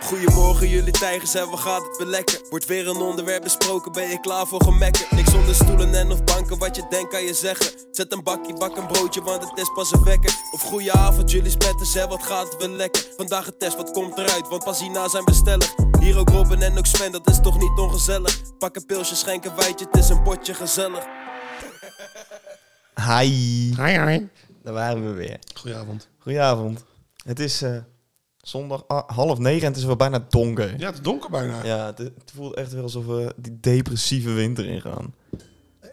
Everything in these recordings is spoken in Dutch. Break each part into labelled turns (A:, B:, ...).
A: Goedemorgen jullie tijgers en wat gaat het weer lekker? Wordt weer een onderwerp besproken, ben je klaar voor gemekken? Niks onder stoelen en of banken, wat je denkt kan je zeggen Zet een bakje, bak een broodje, want het is pas een wekker Of goeie avond jullie spetters en wat gaat het weer lekker? Vandaag een test, wat komt eruit, want pas hierna zijn we stellig Hier ook Robin en ook Sven, dat is toch niet ongezellig? Pak een pilsje, schenk een wijtje, het is een potje gezellig
B: Hi,
C: Hi, hi.
B: daar waren we weer.
C: Goedenavond.
B: Goedenavond. Het is eh, zondag ah, half negen en het is wel bijna donker.
C: Ja, het is donker bijna.
B: Ja, het, het voelt echt wel alsof we die depressieve winter ingaan.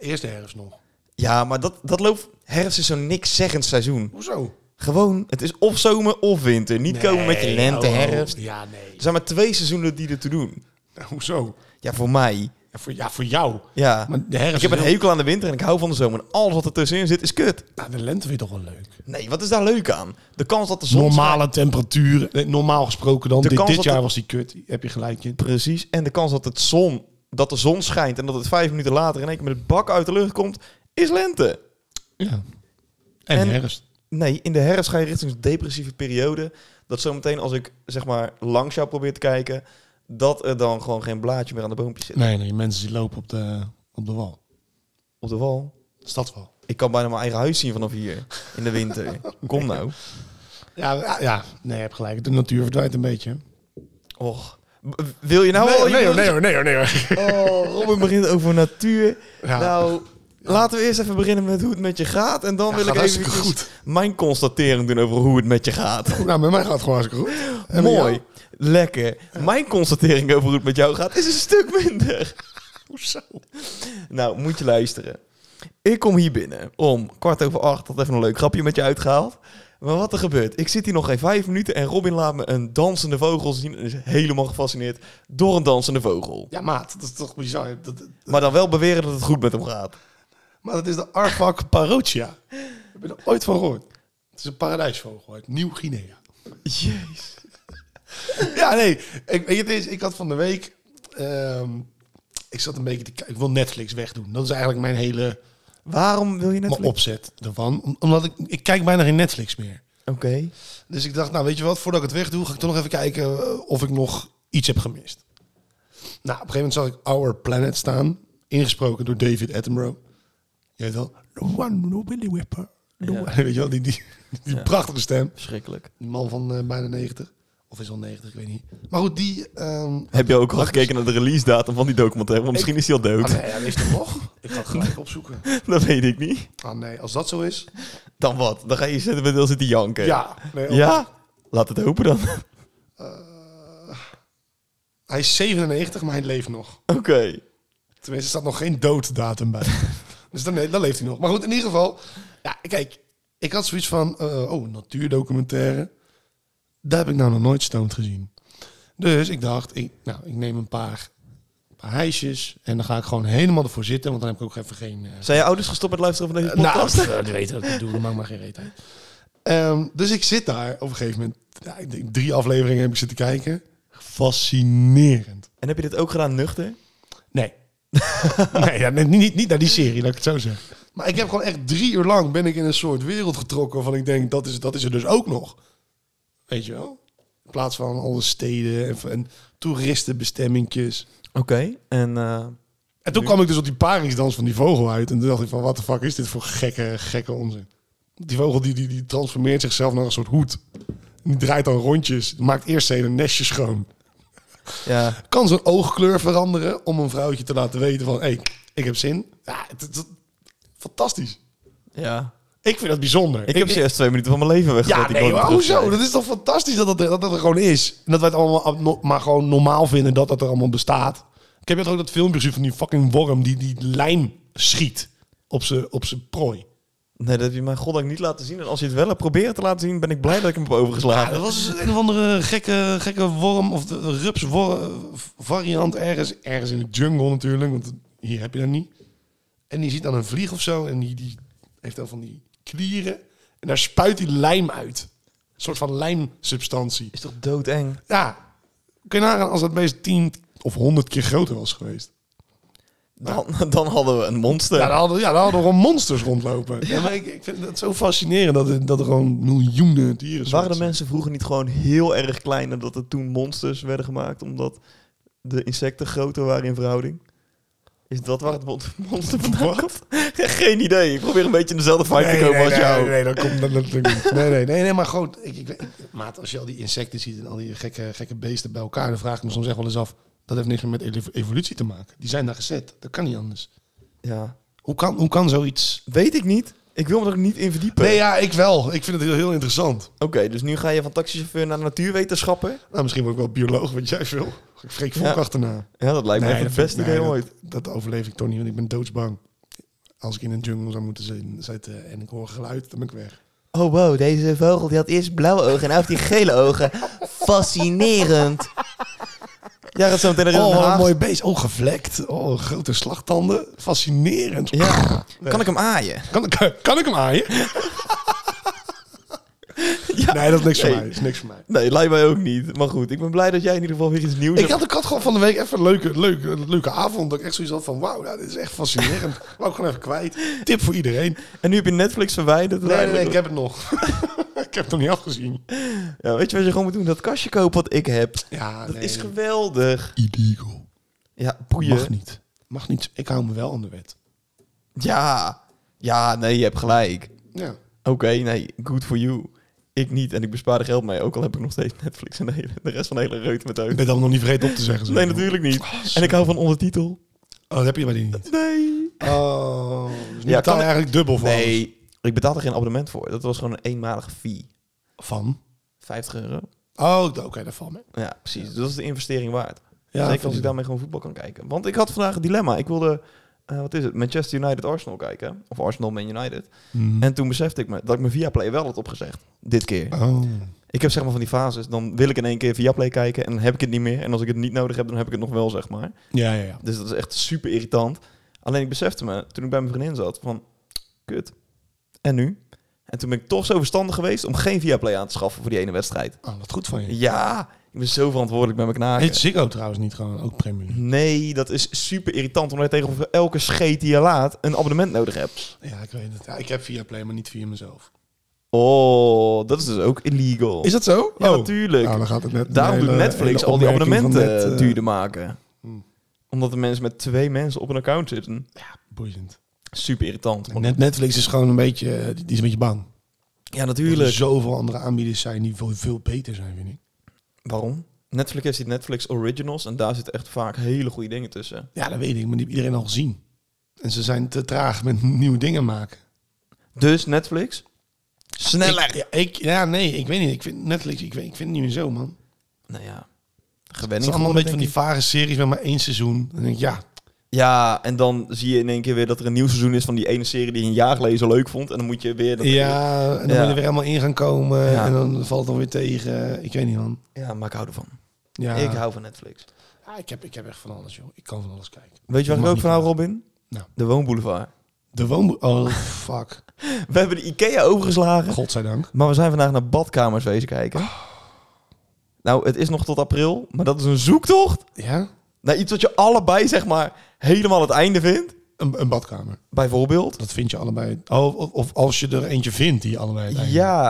C: Eerste herfst nog.
B: Ja, maar dat, dat loopt... Herfst is zo'n niks zeggend seizoen.
C: Hoezo?
B: Gewoon, het is of zomer of winter. Niet komen met je
C: Nee,
B: lente,
C: oh, oh.
B: herfst.
C: Ja, nee.
B: Er zijn maar twee seizoenen die er toe doen.
C: Nou, hoezo?
B: Ja, voor mij.
C: Ja voor, ja, voor jou.
B: Ja.
C: Maar de herfst
B: ik heb
C: is
B: een
C: heel-
B: hekel aan de winter en ik hou van de zomer. En alles wat er tussenin zit is kut.
C: Nou, de lente vind je toch wel leuk?
B: Nee, wat is daar leuk aan? De kans dat de zon schijnt-
C: Normale temperaturen. Nee, normaal gesproken dan.
B: De
C: Dit,
B: kans
C: dit
B: dat
C: jaar
B: het-
C: was die kut. Heb je gelijk in.
B: Precies. En de kans dat, het zon, dat de zon schijnt en dat het vijf minuten later in één keer met het bak uit de lucht komt, is lente.
C: Ja. En,
B: En-
C: herfst.
B: Nee, in de herfst ga je richting een depressieve periode. Dat zometeen als ik zeg maar langs jou probeer te kijken, dat er dan gewoon geen blaadje meer aan de boompjes zit.
C: Nee, nee. Mensen die lopen op de, op de wal.
B: Op de wal.
C: Stadwal.
B: Ik kan bijna mijn eigen huis zien vanaf hier in de winter. Kom nou.
C: Ja, ja, ja. Nee, je hebt gelijk. De natuur verdwijnt een beetje.
B: Och. B- Wil Oh, je nou al je wil-
C: hoor, nee, hoor, nee. hoor.
B: Oh, Robin begint over natuur.
C: Ja.
B: Nou, laten we eerst even beginnen met hoe het met je gaat. En dan
C: Ja,
B: wil
C: gaat
B: ik even
C: hartstikke goed.
B: mijn constatering doen over hoe het met je gaat.
C: Nou, met mij gaat het gewoon hartstikke goed. En met
B: Mooi,
C: jou?
B: lekker. Mijn constatering over hoe het met jou gaat is een stuk minder.
C: Hoezo?
B: Nou, moet je luisteren. Ik kom hier binnen om kwart over acht. Had even een leuk grapje met je uitgehaald. Maar wat er gebeurt, ik zit hier nog geen vijf minuten en Robin laat me een dansende vogel zien. En is helemaal gefascineerd door een dansende vogel.
C: Ja, maat. Dat is toch bizar. Dat, dat-
B: Maar dan wel beweren dat het goed met hem gaat.
C: Maar dat is de Arfak parotia. Heb je er ooit van gehoord? Het is een paradijsvogel uit Nieuw-Guinea.
B: Jezus.
C: Ja, nee. Ik, weet je, het is, ik had van de week... ehm, ik zat een beetje te kijken. Ik wil Netflix wegdoen. Dat is eigenlijk mijn hele
B: Waarom wil je net...
C: mijn opzet ervan. Om- Omdat ik... Ik kijk bijna geen Netflix meer.
B: Oké.
C: Dus ik dacht, nou weet je wat, voordat ik het wegdoe, ga ik toch nog even kijken eh, of ik nog iets heb gemist. Nou, op een gegeven moment zag ik Our Planet staan, ingesproken door David Attenborough. Je weet wel, the one who Billy Whipper. the
B: Ja.
C: one- Weet je wel, die, die, die prachtige stem.
B: Verschrikkelijk.
C: Die man van eh, bijna 90. Of is al 90, ik weet niet. Maar goed, die... ehm
B: Heb je ook al gekeken naar de release datum van die documentaire? Want misschien is hij al dood.
C: ah, nee, hij leeft toch nog? Ik ga het gelijk opzoeken.
B: Dat weet ik niet.
C: Ah nee, als dat zo is...
B: Dan wat? Dan ga je zitten met heel zitten janken.
C: Ja. Nee, als-
B: Ja? Laat het hopen dan. Oké.
C: Hij is 97, maar hij leeft nog. Tenminste, er staat nog geen dooddatum bij. dus dan, nee, dan leeft hij nog. Maar goed, in ieder geval. Ja, kijk, ik had zoiets van. eh, oh, natuurdocumentaire. Daar heb ik nou nog nooit stoned gezien. Dus ik dacht, ik, nou, ik neem een paar, een paar hijsjes. En dan ga ik gewoon helemaal ervoor zitten. Want dan heb ik ook even geen. eh,
B: Zijn je ouders gestopt met luisteren van deze
C: nou,
B: podcast?
C: eh, die weten dat ik doe, maak maar geen reet uit. Ehm, dus ik zit daar op een gegeven moment. Ja, ik denk drie afleveringen heb ik zitten kijken. Fascinerend.
B: En heb je dit ook gedaan nuchter?
C: Nee. nee, ja, nee, niet, niet naar die serie, laat ik het zo zeggen. Maar ik heb gewoon echt drie uur lang ben ik in een soort wereld getrokken waarvan ik denk, dat is, dat is er dus ook nog. Weet je wel? In plaats van alle steden en, van- en toeristenbestemmingjes.
B: Oké. En eh,
C: En toen kwam ik dus op die paringsdans van die vogel uit. En toen dacht ik van, wat de fuck is dit voor gekke, gekke onzin? Die vogel die, die, die transformeert zichzelf naar een soort hoed. En die draait dan rondjes. Maakt eerst zijn hele nestje schoon.
B: ja.
C: kan zo'n oogkleur veranderen om een vrouwtje te laten weten van, hé, hey, ik heb zin. Ja, het, het- het- fantastisch.
B: ja.
C: Ik vind dat bijzonder.
B: Ik heb zojuist twee minuten van mijn leven weggegooid.
C: ja,
B: die
C: nee,
B: ik nooit
C: maar
B: meer terug
C: hoezo?
B: krijg.
C: Dat is toch fantastisch dat dat, er- dat dat er gewoon is. En dat wij het allemaal abno- maar gewoon normaal vinden dat dat er allemaal bestaat. Ik heb je ook dat filmpje gezien van die fucking worm die die lijm schiet op zijn op zijn prooi.
B: Nee, dat heb je mij goddank niet laten zien. En als je het wel hebt proberen te laten zien, ben ik blij dat ik hem heb
C: Ja,
B: overgeslagen.
C: dat was een of andere gekke, gekke worm of de rups variant ergens, ergens in de jungle natuurlijk, want hier heb je dat niet. En die ziet dan een vlieg of zo en die, die heeft dan van die klieren en daar spuit die lijm uit. Een soort van lijmsubstantie.
B: Is toch doodeng?
C: Ja, kun je nagaan als dat beest 10 of 100 keer groter was geweest.
B: Dan, dan hadden we een monster.
C: Ja, daar hadden, ja, daar hadden gewoon monsters rondlopen. Ja. maar ik, ik vind het zo fascinerend dat, er- dat er gewoon miljoenen dieren zijn.
B: Waren de mensen vroeger niet gewoon heel erg klein en dat er toen monsters werden gemaakt omdat de insecten groter waren in verhouding? Is dat waar het mon- monster vandaan komt? Geen idee. Ik probeer een beetje in dezelfde vibe te komen als
C: nee,
B: jou.
C: Nee, nee, dat komt dat natuurlijk niet. Nee, nee, nee, nee, maar goed. Ik, ik, ik- maat, als je al die insecten ziet en al die gekke, gekke beesten bij elkaar, dan vraag ik me soms echt wel eens af. Dat heeft niks meer met evo- evolutie te maken. Die zijn daar gezet. Dat kan niet anders.
B: Ja.
C: Hoe kan, hoe kan zoiets?
B: Weet ik niet. Ik wil me er niet in verdiepen.
C: Nee, ja, ik wel. Ik vind het heel, heel interessant.
B: Oké, dus nu ga je van taxichauffeur naar natuurwetenschapper?
C: Nou, misschien word ik wel bioloog, wat jij wil. Ik vreek Vonk
B: Ja.
C: achterna.
B: Ja, dat lijkt me echt het
C: dat-
B: beste
C: nee,
B: idee
C: dat-
B: ooit.
C: Dat, overleef ik toch niet, want ik ben doodsbang. Als ik in een jungle zou moeten zin- zitten en ik hoor geluid, dan ben ik weg.
B: Oh wow, deze vogel die had eerst blauwe ogen en nu heeft hij gele ogen. Fascinerend. Ja, gaat zo meteen naar
C: Oh,
B: een
C: wat een
B: haag-
C: mooi beest. Oh, gevlekt. Oh, grote slagtanden. Fascinerend.
B: Ja. Kan ik hem aaien?
C: Kan, kan, kan ik hem aaien? Nee, dat is niks
B: Nee.
C: voor mij. Dat is niks voor mij.
B: Nee, lijkt mij ook niet. Maar goed, ik ben blij dat jij in ieder geval weer iets nieuws
C: Ik
B: hebt.
C: had, ik had gewoon van de week even een leuke, leuke, leuke avond. Dat ik echt zoiets had van, wauw, nou, dit is echt fascinerend. Wou ik gewoon even kwijt. Tip voor iedereen.
B: En nu heb je Netflix verwijderd.
C: Nee, nee, nee, ik heb het nog. ik heb het nog niet afgezien.
B: ja, weet je wat je gewoon moet doen? Dat kastje kopen wat ik heb.
C: Ja,
B: Dat
C: Ah, nee.
B: is geweldig.
C: illegal.
B: Ja, boeien.
C: Mag niet. Mag niet. Ik hou me wel aan de wet.
B: Ja. Ja, nee, je hebt gelijk.
C: Ja.
B: Oké, nee, good for you. Ik niet en ik bespaar er geld mee. Ook al heb ik nog steeds Netflix en de, hele, de rest van de hele reut met
C: Ik
B: uit.
C: ben dan nog niet vergeten op te zeggen. zo.
B: Nee, natuurlijk niet. En ik hou van ondertitel.
C: Oh, dat heb je bij die niet.
B: Nee.
C: Oh. Dus nu
B: Ja,
C: ja,
B: kan
C: kan je eigenlijk dubbel van.
B: Nee, ik betaalde geen abonnement voor. Dat was gewoon een eenmalige fee.
C: Van?
B: 50 euro.
C: Oh, oké, okay, daar valt mee.
B: Ja, precies. Dus dat is de investering waard.
C: Ja,
B: Zeker
C: vind
B: als ik
C: ik.
B: daarmee gewoon voetbal kan kijken. Want ik had vandaag een dilemma. Ik wilde, eh, wat is het, Manchester United-Arsenal kijken. Of Arsenal-Man United.
C: Hmm.
B: En toen besefte ik me dat ik mijn Viaplay wel had opgezegd. Dit keer.
C: Oh.
B: Ik heb zeg maar van die fases. Dan wil ik in één keer Viaplay kijken en dan heb ik het niet meer. En als ik het niet nodig heb, dan heb ik het nog wel, zeg maar.
C: Ja, ja, ja.
B: Dus dat is echt super irritant. Alleen ik besefte me, toen ik bij mijn vriendin zat, van... Kut. En nu? En toen ben ik toch zo verstandig geweest om geen Viaplay aan te schaffen voor die ene wedstrijd.
C: Oh, wat goed van je.
B: Ja, ik ben zo verantwoordelijk met mijn knaken.
C: Heet Ziggo trouwens niet gewoon ook Premier League?
B: Nee, dat is super irritant, omdat je tegenover elke scheet die je laat een abonnement nodig hebt.
C: Ja, ik weet het. Ja, ik heb via Play, maar niet via mezelf.
B: Oh, dat is dus ook illegal.
C: dat zo?
B: Ja, natuurlijk.
C: Nou, dan gaat het net
B: Daarom
C: een
B: doet
C: hele-
B: Netflix
C: hele
B: al die
C: opmerking van
B: abonnementen
C: net, eh,
B: duurder maken.
C: Hmm.
B: Omdat de mensen met twee mensen op een account zitten.
C: Ja, boeiend.
B: Super irritant. want-
C: Net, Netflix is gewoon een beetje, eh, die die is een beetje bang.
B: Ja,
C: Dat er
B: natuurlijk.
C: zoveel andere aanbieders zijn die veel, veel beter zijn, vind ik.
B: Waarom? Netflix heeft die Netflix Originals en daar zitten echt vaak hele goede dingen tussen.
C: Ja, dat weet ik, maar die heeft iedereen al gezien. En ze zijn te traag met nieuwe dingen maken.
B: Dus Netflix, sneller!
C: Ik, ja, ik, ja, nee, ik weet niet. Ik vind Netflix, ik, weet, ik vind het niet meer zo, man.
B: Nou ja,
C: Het
B: gewenning
C: is allemaal een
B: geworden,
C: beetje van
B: denk
C: die vage series met maar één seizoen. Dan denk ik, ja,
B: Ja, en dan zie je in één keer weer dat er een nieuw seizoen is van die ene serie die je een jaar geleden zo leuk vond. En dan moet je weer... Dat
C: ja en dan
B: Ja.
C: moet je er weer helemaal in gaan komen.
B: Ja.
C: En dan valt het dan weer tegen. Ik weet niet, man.
B: ja, maar ik hou ervan.
C: Ja.
B: Ik hou van Netflix.
C: Ja, Ah, ik, heb, ik heb echt van alles, joh. Ik kan van alles kijken.
B: Weet je waar
C: Mag
B: ik ook
C: niet
B: van hou,
C: meer.
B: Robin?
C: Nou.
B: De Woonboulevard.
C: De woonboer... Oh, fuck.
B: We hebben de Ikea overgeslagen.
C: Godzijdank.
B: Maar we zijn vandaag naar badkamers wezen kijken. Nou, het is nog tot april, maar dat is een zoektocht
C: Ja?
B: naar iets wat je allebei, zeg maar, helemaal het einde vindt.
C: Een, een badkamer.
B: Bijvoorbeeld.
C: Dat vind je allebei... Oh, of, of als je er eentje vindt die je allebei... uiteindelijk-
B: Ja,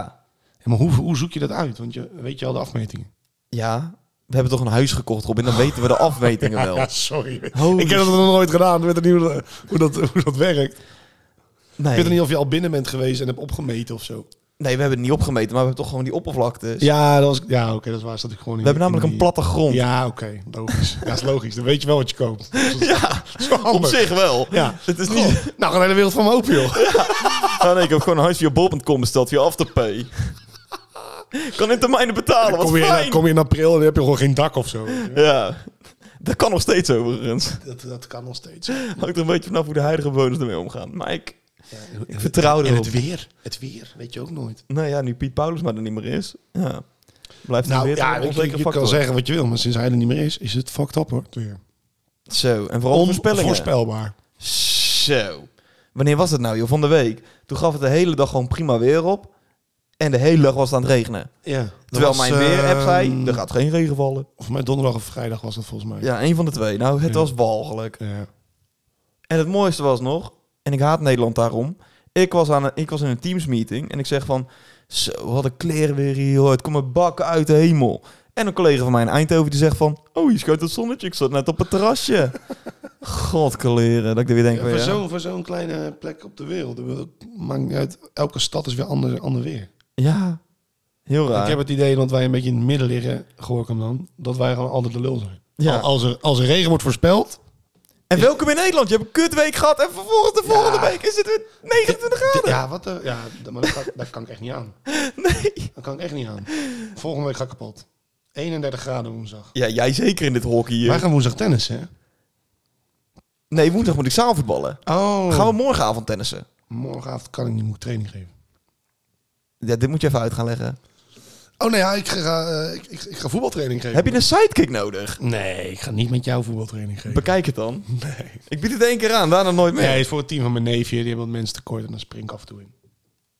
C: Ja, Maar hoe, hoe zoek je dat uit? Want je weet je al de afmetingen.
B: ja. We hebben toch een huis gekocht, Robin? Dan weten we de afmetingen wel.
C: sorry.
B: Holy
C: ik heb dat nog nooit gedaan. Ik weet niet hoe dat, hoe dat, hoe dat werkt. Ik
B: Nee.
C: weet niet of je al binnen bent geweest en hebt opgemeten of zo.
B: nee, we hebben het niet opgemeten, maar we hebben toch gewoon die oppervlakte.
C: Ja, dat was, ja oké, dat is waar. Zat ik gewoon
B: We hebben namelijk een platte grond.
C: Ja, oké. Logisch. ja, is logisch. Dan weet je wel wat je koopt. Dus dat is-
B: Ja,
C: dat is wel
B: op
C: handig.
B: zich wel.
C: Ja.
B: Het is
C: Goh,
B: niet...
C: nou, gaan de hele wereld van me open, joh.
B: Ah, nee, ik heb gewoon een huis via bol.com besteld, via Afterpay. kan in termijnen betalen, wat
C: kom, je
B: fijn.
C: in, kom je in april en dan heb je gewoon geen dak of zo.
B: Ja, dat kan nog steeds overigens.
C: Dat, dat kan nog steeds.
B: Hangt er een beetje vanaf hoe de huidige bewoners ermee omgaan. Maar ik, ik vertrouw
C: En
B: erop.
C: het weer. Het weer, weet je ook nooit.
B: Nou ja, nu Piet Paulus maar er niet meer is, ja. blijft het
C: Nou
B: weer
C: ja,
B: een
C: ik,
B: onzekere
C: je
B: factor.
C: kan zeggen wat je wil, maar sinds hij er niet meer is, is het fucked up hoor. Het weer.
B: Zo, en vooral voorspellingen.
C: Onvoorspelbaar.
B: Zo. Wanneer was het nou, joh? Van de week. Toen gaf het de hele dag gewoon prima weer op. En de hele dag was het aan het regenen.
C: Ja. Dat
B: Terwijl
C: was,
B: mijn weer-app zei,
C: ehm,
B: er gaat geen regen vallen.
C: Of mijn donderdag of vrijdag was dat volgens mij. eh,
B: Ja, een van de twee. Nou, het
C: Ja.
B: was walgelijk.
C: Ja.
B: En het mooiste was nog, en ik haat Nederland daarom. Ik was, aan een, ik was in een Teams meeting en ik zeg van... Zo, wat een kleren weer hier, hoor. Het komen bakken uit de hemel. En een collega van mij in Eindhoven die zegt van... Oh, je schuilt het zonnetje. Ik zat net op het terrasje. God, kleren. Dat ik er weer denk
C: Ja,
B: van,
C: voor
B: ja.
C: zo'n voor zo'n kleine plek op de wereld. ik bedoel, het Maakt niet uit. Elke stad is weer ander, ander weer.
B: Ja, heel raar.
C: Ik heb het idee dat wij een beetje in het midden liggen, Gorkum dan, dat wij gewoon altijd de lul zijn.
B: Ja.
C: Al- Als, er, als er regen wordt voorspeld,
B: En welkom in Nederland. Je hebt een kutweek gehad en vervolgens de volgende week is het weer 29 graden.
C: ja, wat, de- ja d- maar dat, kan- dat kan ik echt niet aan.
B: Nee.
C: Dat kan ik echt niet aan. Volgende week ga ik kapot. 31 graden woensdag.
B: Ja, jij zeker in dit hockey. eh? hier.
C: Wij gaan woensdag tennis, hè?
B: Nee, woensdag moet ik zaalvoetballen.
C: Oh.
B: Gaan we morgenavond tennissen?
C: Morgenavond kan ik niet, moet ik training geven.
B: Ja, dit moet je even uit gaan leggen.
C: Oh nee, ja, ik, ga, eh, ik, ik, ik ga voetbaltraining geven.
B: Heb je een sidekick nodig?
C: Nee, ik ga niet met jou voetbaltraining geven.
B: Bekijk het dan.
C: nee.
B: Ik bied het één keer aan, daarna nooit meer.
C: Nee, het is voor het team van mijn neefje. Die hebben wat mensen tekort en dan spring ik af en toe in.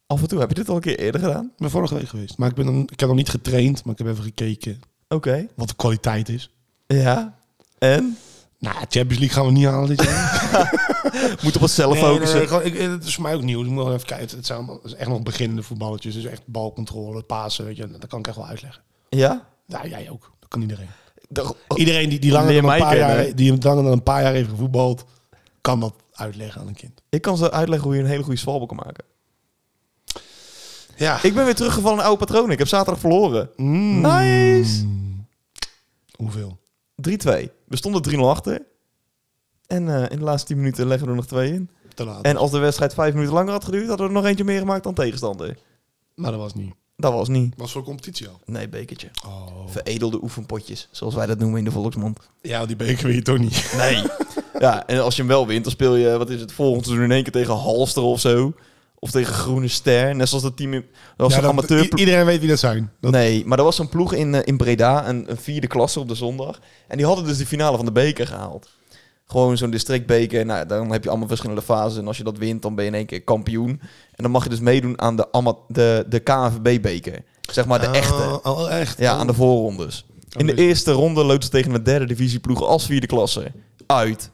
B: Af en toe heb je dit al een keer eerder gedaan.
C: Ik ben vorige week geweest. Maar ik, ben dan, ik heb nog niet getraind, maar ik heb even gekeken
B: Oké.
C: wat de kwaliteit is.
B: Ja. En?
C: Nou, Champions League gaan we niet halen dit jaar.
B: Moet op onszelf
C: Nee, nee,
B: focussen.
C: nee, gewoon, ik, het is voor mij ook nieuw. Dus ik moet wel even kijken. Het zijn allemaal- het is echt nog beginnende voetballetjes. Dus echt balcontrole, pasen. Weet je, Nou, dat kan ik echt wel uitleggen.
B: Ja?
C: Ja, jij ook. Dat kan iedereen.
B: De-
C: Iedereen die, die,
B: Oh, Leer
C: langer, dan
B: mij
C: een paar
B: kennen,
C: jaar,
B: hè?
C: die langer dan een paar jaar heeft gevoetbald, kan dat uitleggen aan een kind.
B: Ik kan ze uitleggen hoe je een hele goede zwalbe kan maken.
C: Ja.
B: Ik ben weer teruggevallen in oude patronen. Ik heb zaterdag verloren. Nice.
C: Mm. Hoeveel?
B: 3-2. We stonden 3-0 achter. En eh, in de laatste 10 minuten leggen we er nog twee in.
C: Te laat.
B: En als de wedstrijd 5 minuten langer had geduurd, hadden we er nog eentje meer gemaakt dan tegenstander.
C: Maar dat was niet.
B: Dat was niet.
C: Was voor competitie al.
B: Nee, bekertje.
C: Oh.
B: Veredelde oefenpotjes, zoals wij dat noemen in de volksmond.
C: Ja, die beker weet je toch niet.
B: Nee. ja, en als je hem wel wint, dan speel je, wat is het, volgend seizoen in één keer tegen Halster of zo. Of tegen Groene Ster. Net zoals dat team in... Dat was
C: Ja,
B: een
C: dat-
B: amateur...
C: i- iedereen weet wie dat zijn. Dat,
B: Nee, maar er was zo'n ploeg in, eh, in Breda, een, een vierde klasse op de zondag. En die hadden dus de finale van de beker gehaald. Gewoon zo'n districtbeker. Nou, dan heb je allemaal verschillende fases. En als je dat wint, dan ben je in één keer kampioen. En dan mag je dus meedoen aan de, ama- de, de KNVB-beker. Zeg maar de echte.
C: Oh, oh, echt.
B: Ja, aan de voorrondes. In de
C: dus-
B: eerste ronde loopt ze tegen een derde divisieploeg als vierde klasse. Uit.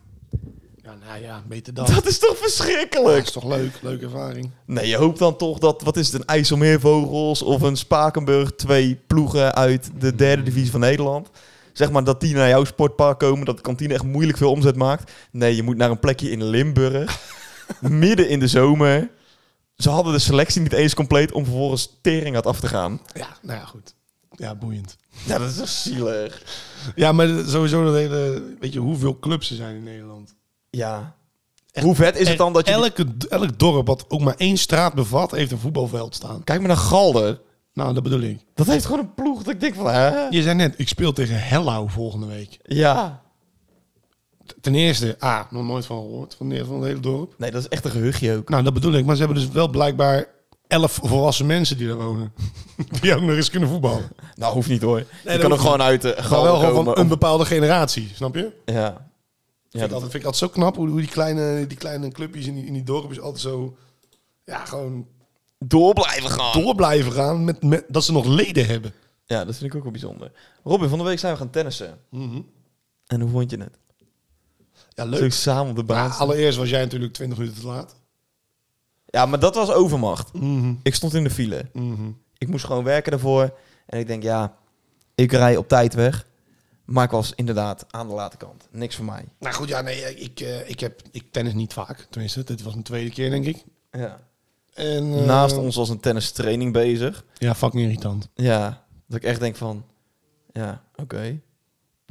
C: Ja, nou ja, beter dan.
B: Dat is toch
C: Dat
B: verschrikkelijk?
C: is toch leuk? Leuke ervaring.
B: Nee, je hoopt dan toch dat, wat is het, een IJsselmeervogels of een Spakenburg, twee ploegen uit de derde divisie van Nederland. Zeg maar dat die naar jouw sportpark komen, dat de kantine echt moeilijk veel omzet maakt. Nee, je moet naar een plekje in Limburg, midden in de zomer. Ze hadden de selectie niet eens compleet om vervolgens tering had af te gaan.
C: Ja, nou ja, goed. Ja, boeiend.
B: Ja, dat is toch zielig?
C: Ja, maar sowieso dat hele... Weet je hoeveel clubs er zijn in Nederland?
B: Ja. Hoe vet is het dan dat je...
C: elke, elk dorp wat ook maar één straat bevat, heeft een voetbalveld staan.
B: Kijk maar naar Galder.
C: Nou, dat bedoel ik.
B: Dat heeft gewoon een ploeg dat ik denk van... Hè?
C: Je zei net, ik speel tegen Hellau volgende week.
B: Ja.
C: Ten eerste, ah, nog nooit van gehoord, van, de- van het hele dorp.
B: Nee, dat is echt een geheugje ook.
C: Nou, dat bedoel ik. Maar ze hebben dus wel blijkbaar elf volwassen mensen die daar wonen. Die ook nog eens kunnen voetballen.
B: Nou, hoeft niet hoor. je
C: dat
B: kan ook
C: hoeft
B: gewoon uit de
C: Maar
B: Galder
C: wel gewoon
B: komen
C: van een bepaalde generatie, snap je?
B: Ja.
C: Ja,
B: Ja,
C: vind, ik altijd, vind ik altijd zo knap hoe, hoe die, kleine, die kleine clubjes in die, in die dorpjes altijd zo... Ja, gewoon
B: door blijven gaan.
C: door blijven gaan met, met dat ze nog leden hebben.
B: Ja, dat vind ik ook wel bijzonder. Robin, van de week zijn we gaan tennissen. En hoe vond je het?
C: Ja,
B: Zo
C: Mhm. leuk.
B: samen op de
C: Ja,
B: baan. staan.
C: allereerst was jij natuurlijk 20 minuten te laat.
B: Ja, maar dat was overmacht.
C: Mhm.
B: Ik stond in de file. Ik moest gewoon werken daarvoor. En ik denk, ja, ik rij op tijd weg. Maar ik was inderdaad aan de late kant. Niks voor mij.
C: Nou goed, ja, nee, ik, eh, ik, heb, ik tennis niet vaak. Tenminste, dit was mijn tweede keer, denk ik.
B: Ja.
C: En, eh,
B: Naast ons was een tennistraining bezig.
C: Ja, fucking irritant.
B: Ja, dat ik echt denk van... Ja, oké.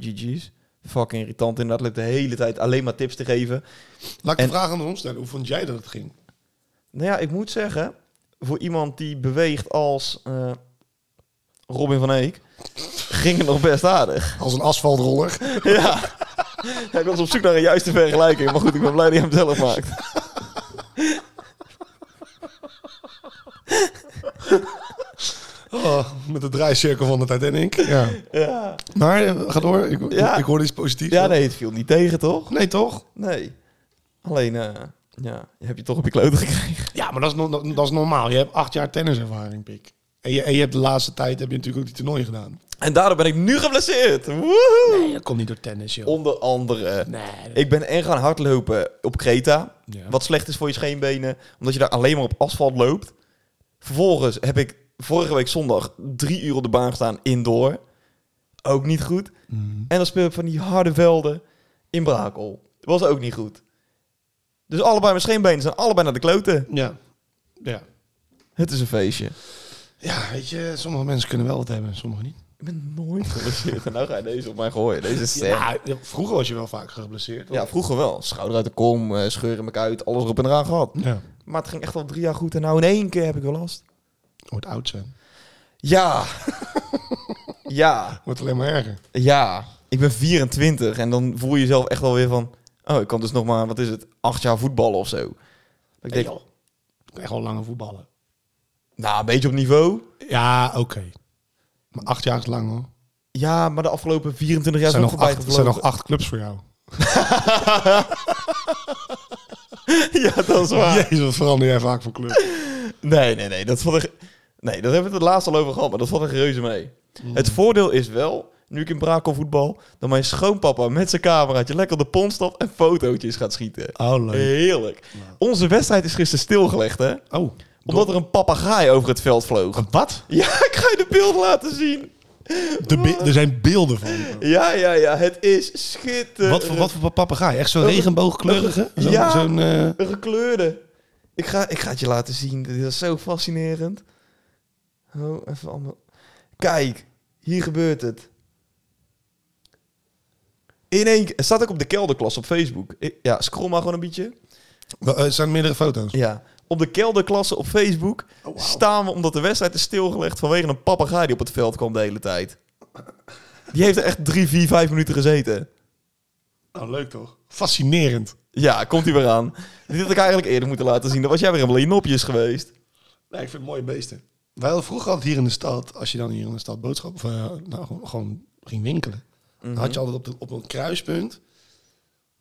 B: GG's. Fucking irritant inderdaad. Leuk de hele tijd alleen maar tips te geven.
C: Laat ik de
B: En-
C: vraag aan ons stellen. Hoe vond jij dat het ging?
B: Nou ja, ik moet zeggen, voor iemand die beweegt als eh, Robin van Eek, ging het nog best aardig.
C: Als een asfaltroller.
B: ja. ja, ik was op zoek naar een juiste vergelijking, maar goed, ik ben blij dat je hem zelf maakt.
C: Oh, met de draaicirkel van de Titanic. Ja.
B: Ja,
C: Maar, eh, ga door. Ik,
B: Ja.
C: ik hoor iets positiefs.
B: ja nee, het viel niet tegen, toch?
C: Nee, toch?
B: Nee. Alleen, eh, ja, je hebt je toch op je kloten gekregen.
C: Ja, maar dat is, no- dat is normaal. Je hebt acht jaar tenniservaring, pik. En je, en je hebt de laatste tijd heb je natuurlijk ook die toernooi gedaan.
B: En daardoor ben ik nu geblesseerd. Woehoe!
C: dat komt niet door tennis, joh.
B: Onder andere.
C: Nee.
B: Ik ben en gaan hardlopen op Kreta.
C: Ja.
B: Wat slecht is voor je scheenbenen. Omdat je daar alleen maar op asfalt loopt. Vervolgens heb ik vorige week zondag drie uur op de baan gestaan indoor. Ook niet goed.
C: Mm.
B: En dan speel ik van die harde velden in Brakel. Was ook niet goed. Dus allebei mijn scheenbenen zijn allebei naar de kloten.
C: Ja. Ja.
B: Het is een feestje.
C: Ja, weet je, sommige mensen kunnen wel wat hebben, sommige niet.
B: Ik ben nooit geblesseerd. en nou ga je deze op mij gooien. Deze is sterk.
C: Ja, vroeger was je wel vaak geblesseerd.
B: Ja, vroeger wel. Schouder uit de kom, eh, scheuren me uit, alles erop en eraan gehad.
C: ja.
B: Maar het ging echt al drie jaar goed en nou in één keer heb ik wel last.
C: Wordt oud zijn.
B: Ja. ja.
C: Wordt alleen maar erger.
B: Ja. Ik ben 24 en dan voel je jezelf echt wel weer van... Oh, ik kan dus nog maar, wat is het, acht jaar voetballen of zo. Dat ik denk, nou,
C: Ik kan echt wel langer voetballen.
B: een beetje op niveau.
C: Ja, oké. Maar acht jaar is lang hoor.
B: Ja, maar de afgelopen 24 jaar
C: Er
B: zijn
C: zijn,
B: is ook
C: nog
B: voorbij
C: acht, er zijn nog
B: gevlogen.
C: acht clubs voor jou.
B: ja, dat is waar.
C: Jezus, wat verander jij vaak van club.
B: Nee, nee, nee. Dat valt echt... Nee, daar hebben we het laatst al over gehad, maar dat valt echt reuze mee. Het voordeel is wel, nu ik in Brakel voetbal, dat mijn schoonpapa met zijn cameraatje lekker op de pont stapt en fotootjes gaat schieten.
C: Oh,
B: Heerlijk. Onze wedstrijd is gisteren stilgelegd, hè?
C: Oh,
B: Omdat er een papegaai over het veld vloog.
C: wat?
B: Ja, ik ga je de beeld laten zien.
C: De be- er zijn beelden van.
B: Ja, ja, ja. Het is schitterend.
C: Wat voor, wat voor papegaai? Echt zo'n regenboogkleurige? Zo'n,
B: Ja.
C: Zo'n, eh,
B: Een gekleurde. Ik ga, ik ga het je laten zien. Dit is zo fascinerend. Oh, even allemaal. Kijk, hier gebeurt het. In één Het staat ook op de kelderklas op Facebook. Ik- ja, scroll maar gewoon een beetje.
C: wel, eh, zijn meerdere foto's.
B: Ja. Op de kelderklasse op Facebook
C: wauw.
B: staan we omdat de wedstrijd is stilgelegd vanwege een papegaai die op het veld kwam de hele tijd. Die heeft er echt drie, vier, vijf minuten gezeten.
C: Oh, leuk toch? Fascinerend.
B: Ja, komt hij weer aan. Dit had ik eigenlijk eerder moeten laten zien. Dan was jij weer een nopjes geweest.
C: Nee, ik vind het mooie beesten. Wij hadden vroeger altijd hier in de stad, als je dan hier in de stad boodschap of eh, nou, gewoon, gewoon ging winkelen, dan had je altijd op, de- op een kruispunt,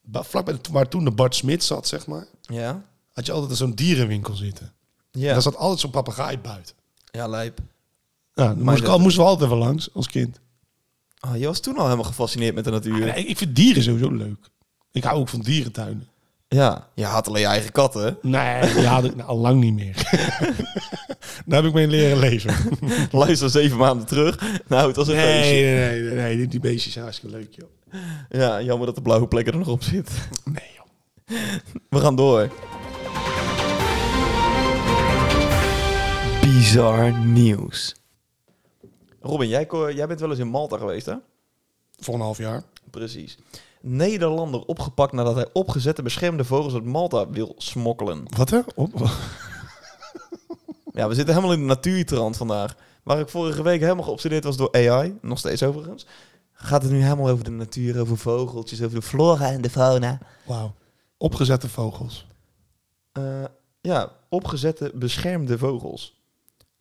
C: ba- vlak bij de, waar toen de Bart Smit zat, zeg maar,
B: Ja.
C: had je altijd zo'n dierenwinkel zitten.
B: Ja.
C: En daar zat altijd zo'n papegaai buiten.
B: Ja, lijp.
C: Ja, dan moest ik,
B: dat-
C: al, moesten we altijd even langs als kind.
B: Ah, je was toen al helemaal gefascineerd met de natuur.
C: Ja, ik, ik vind dieren sowieso leuk. Ik hou ook van dierentuinen.
B: Ja, je had alleen je eigen katten.
C: Nee, die had ik nou al lang niet meer. daar heb ik mee leren leven.
B: Luister zeven maanden terug. Nou, het was een feestje.
C: nee, nee, nee, die- die beestjes zijn hartstikke leuk, joh.
B: Ja, jammer dat de blauwe plek er nog op zit.
C: Nee, joh.
B: We gaan door. Bizar nieuws. Robin, jij, ko- jij bent wel eens in Malta geweest, hè?
C: Voor een half jaar.
B: Precies. Nederlander opgepakt nadat hij opgezette beschermde vogels uit Malta wil smokkelen.
C: Wat hè? Op,
B: Ja, we zitten helemaal in de natuurtrand vandaag. Waar ik vorige week helemaal geobsedeerd was door AI, nog steeds overigens, gaat het nu helemaal over de natuur, over vogeltjes, over de flora en de fauna.
C: Wauw. Opgezette vogels.
B: Eh, ja, opgezette beschermde vogels.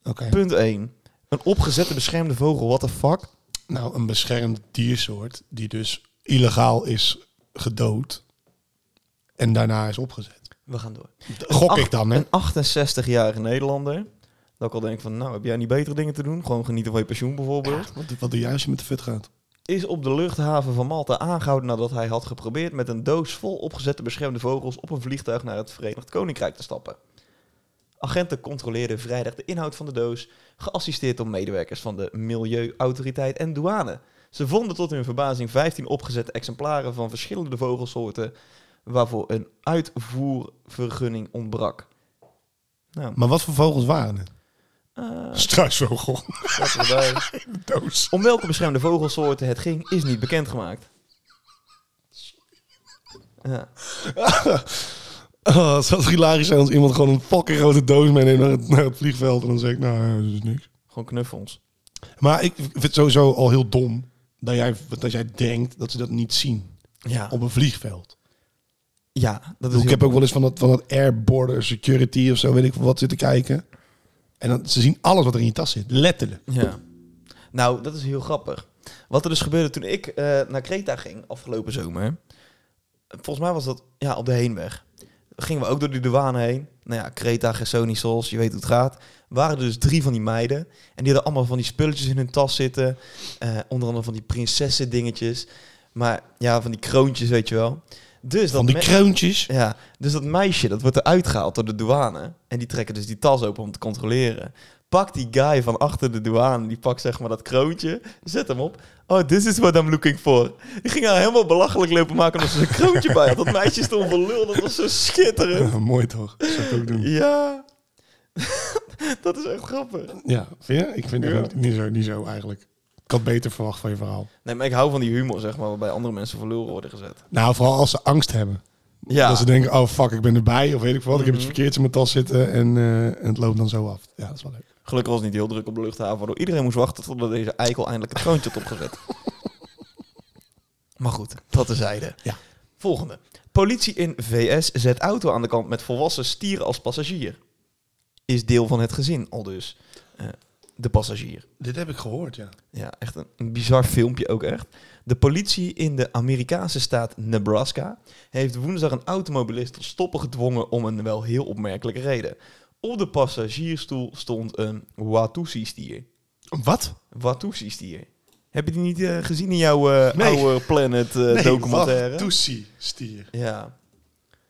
C: Oké.
B: Punt 1. Een opgezette beschermde vogel, what the fuck?
C: Nou, een beschermd diersoort die dus illegaal is gedood en daarna is opgezet.
B: We gaan door.
C: Gok ik dan, hè?
B: Een 68-jarige Nederlander. Dat ik al denk van, nou, heb jij niet betere dingen te doen? Gewoon genieten van je pensioen bijvoorbeeld.
C: Wat, wat doe jij als je met de fut gaat?
B: Is op de luchthaven van Malta aangehouden nadat hij had geprobeerd met een doos vol opgezette beschermde vogels op een vliegtuig naar het Verenigd Koninkrijk te stappen. Agenten controleerden vrijdag de inhoud van de doos, geassisteerd door medewerkers van de Milieuautoriteit en douane. Ze vonden tot hun verbazing 15 opgezette exemplaren van verschillende vogelsoorten, waarvoor een uitvoervergunning ontbrak. Nou,
C: Maar wat voor vogels waren het?
B: eh,
C: Struisvogel.
B: dat is erbij.
C: Doos.
B: Om welke beschermde vogelsoorten het ging, is niet bekendgemaakt. Ja.
C: Oh, het zou toch hilarisch zijn als iemand gewoon een fucking grote doos meeneemt naar het, naar het vliegveld en dan zeg ik, nou, ja, dat is niks.
B: Gewoon knuffels.
C: Maar ik vind het sowieso al heel dom dat jij, dat jij denkt dat ze dat niet zien
B: Ja,
C: op een vliegveld.
B: ja dat
C: Dus
B: is
C: ik heb ook wel eens van dat, van dat Air Border Security of zo, weet ik veel wat, zitten kijken. En dan, ze zien alles wat er in je tas zit, letterlijk.
B: Ja. Nou, dat is heel grappig. Wat er dus gebeurde toen ik eh, naar Kreta ging afgelopen zomer. Volgens mij was dat ja, op de heenweg. Gingen we ook door de douane heen. Nou ja, Creta, Gersonisos, je weet hoe het gaat. Waren er dus drie van die meiden. En die hadden allemaal van die spulletjes in hun tas zitten. Eh, onder andere van die prinsessen dingetjes. Maar ja, van die kroontjes, weet je wel. Dus
C: Van
B: dat
C: die
B: me-
C: kroontjes.
B: ja, dus dat meisje, dat wordt eruit gehaald door de douane. En die trekken dus die tas open om te controleren. Pakt die guy van achter de douane, die pakt zeg maar dat kroontje, zet hem op. Oh, this is what I'm looking for. Die ging haar helemaal belachelijk lopen maken omdat ze een kroontje bij had. Dat meisje stond voor lul, dat was zo schitterend.
C: Mooi toch? Dat zou ik ook doen.
B: Ja, dat is echt grappig.
C: Ja, vind je? Ik vind het
B: Ja.
C: ook niet zo, niet zo eigenlijk. Ik had beter verwacht van je verhaal.
B: Nee, maar ik hou van die humor, zeg maar, waarbij andere mensen voor lul worden gezet.
C: Nou, vooral als ze angst hebben.
B: Ja, Mhm.
C: Dat ze denken, oh fuck, ik ben erbij. Of weet ik wat, ik heb iets verkeerds in mijn tas zitten. En, eh, en het loopt dan zo af. Ja, dat is wel leuk.
B: gelukkig was het niet heel druk op de luchthaven, waardoor iedereen moest wachten totdat deze eikel eindelijk het kroontje had opgezet. maar goed, dat tezijde.
C: Ja.
B: Volgende. Politie in VS zet auto aan de kant met volwassen stieren als passagier. Is deel van het gezin, al dus. eh, de passagier.
C: Dit heb ik gehoord, ja.
B: Ja, echt een, een bizar filmpje ook echt. De politie in de Amerikaanse staat Nebraska heeft woensdag een automobilist tot stoppen gedwongen om een wel heel opmerkelijke reden. Op de passagiersstoel stond een Watusi-stier.
C: Wat?
B: Watusi-stier. Heb je die niet eh, gezien in jouw eh,
C: Nee.
B: oude Planet eh, documentaire?
C: Toesie, stier.
B: Ja.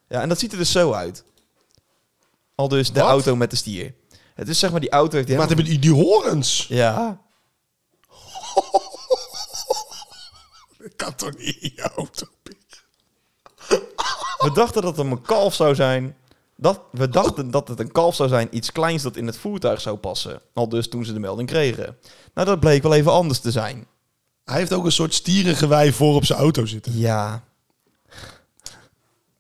B: Ja, en dat ziet er dus zo uit. Al dus de
C: Wat?
B: auto met de stier. Het is zeg maar die auto heeft die
C: Maar Ah.
B: helemaal-
C: hebben die, die horens?
B: Ja.
C: Dat kan toch niet in je auto, Piet?
B: We dachten dat het een kalf zou zijn. Dat, we dachten dat het een kalf zou zijn, iets kleins dat in het voertuig zou passen. Al dus toen ze de melding kregen. Nou, dat bleek wel even anders te zijn.
C: Hij heeft ook een soort stierengewei voor op zijn auto zitten.
B: Ja.